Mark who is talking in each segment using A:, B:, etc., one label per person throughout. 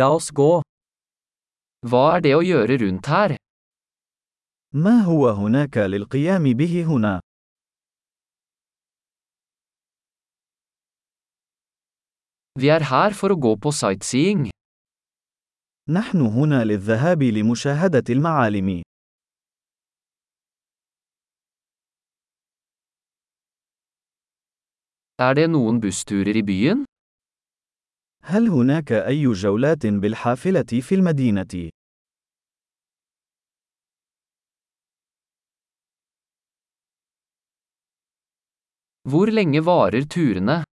A: La oss gå. Hva er det å gjøre rundt her?
B: ما هو هناك للقيام به هنا؟
A: Vi er her for å gå på sightseeing.
B: نحن هنا للذهاب لمشاهدة المعالم.
A: Er det noen bussturer i byen?
B: هل هناك أي جولات بالحافلة في المدينة؟
A: Hvor lenge varer turene?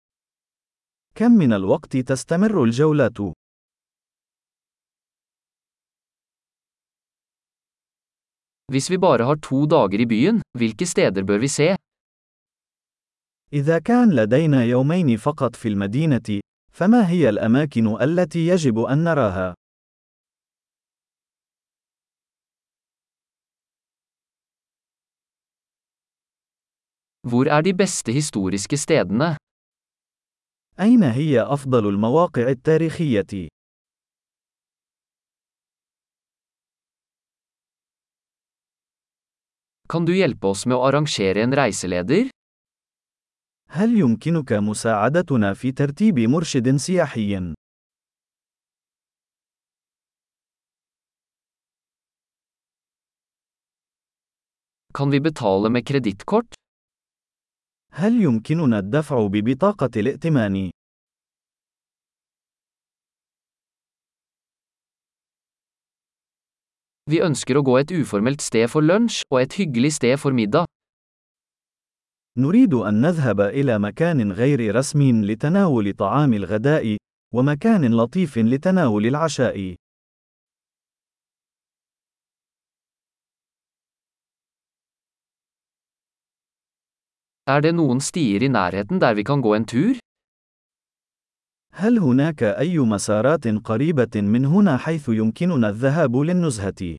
B: كم من الوقت تستمر الجولات؟
A: Hvis vi bare har to dager i byen, hvilke steder bør vi se?
B: إذا كان لدينا يومين فقط في المدينة، فما هي الأماكن التي يجب أن نراها؟
A: Hvor er de beste historiske stedene?
B: أين هي أفضل المواقع التاريخية؟
A: Kan du hjelpe oss med å arrangere en reiseleder?
B: هل يمكنك مساعدتنا في ترتيب مرشد سياحي؟
A: Kan vi betale med kredittkort?
B: هل يمكننا الدفع ببطاقة الائتمان؟
A: Vi ønsker å gå et uformelt sted for lunsj og et hyggelig sted for middag.
B: نريد أن نذهب إلى مكان غير رسمي لتناول طعام الغداء، ومكان لطيف لتناول العشاء.
A: Er det noen stier i nærheten der vi kan gå en tur?
B: هل هناك أي مسارات قريبة من هنا حيث يمكننا الذهاب للنزهة؟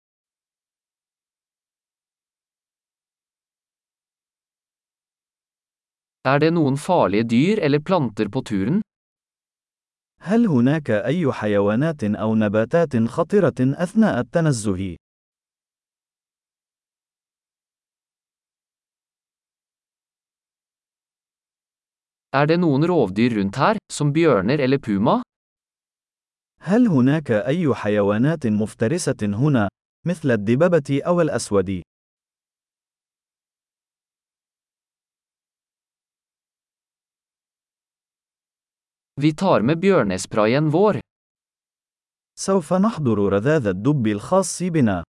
A: Er det noen farlige dyr eller planter på turen?
B: هل هناك أي حيوانات أو نباتات خطرة أثناء التنزه؟
A: Er det noen rovdyr rundt her, som bjørner eller puma?
B: هل هناك أي حيوانات مفترسة هنا، مثل الدببة أو الأسود؟
A: Vi tar med bjørnesprayen vår.
B: سوف نحضر رذاذ الدب الخاص بنا.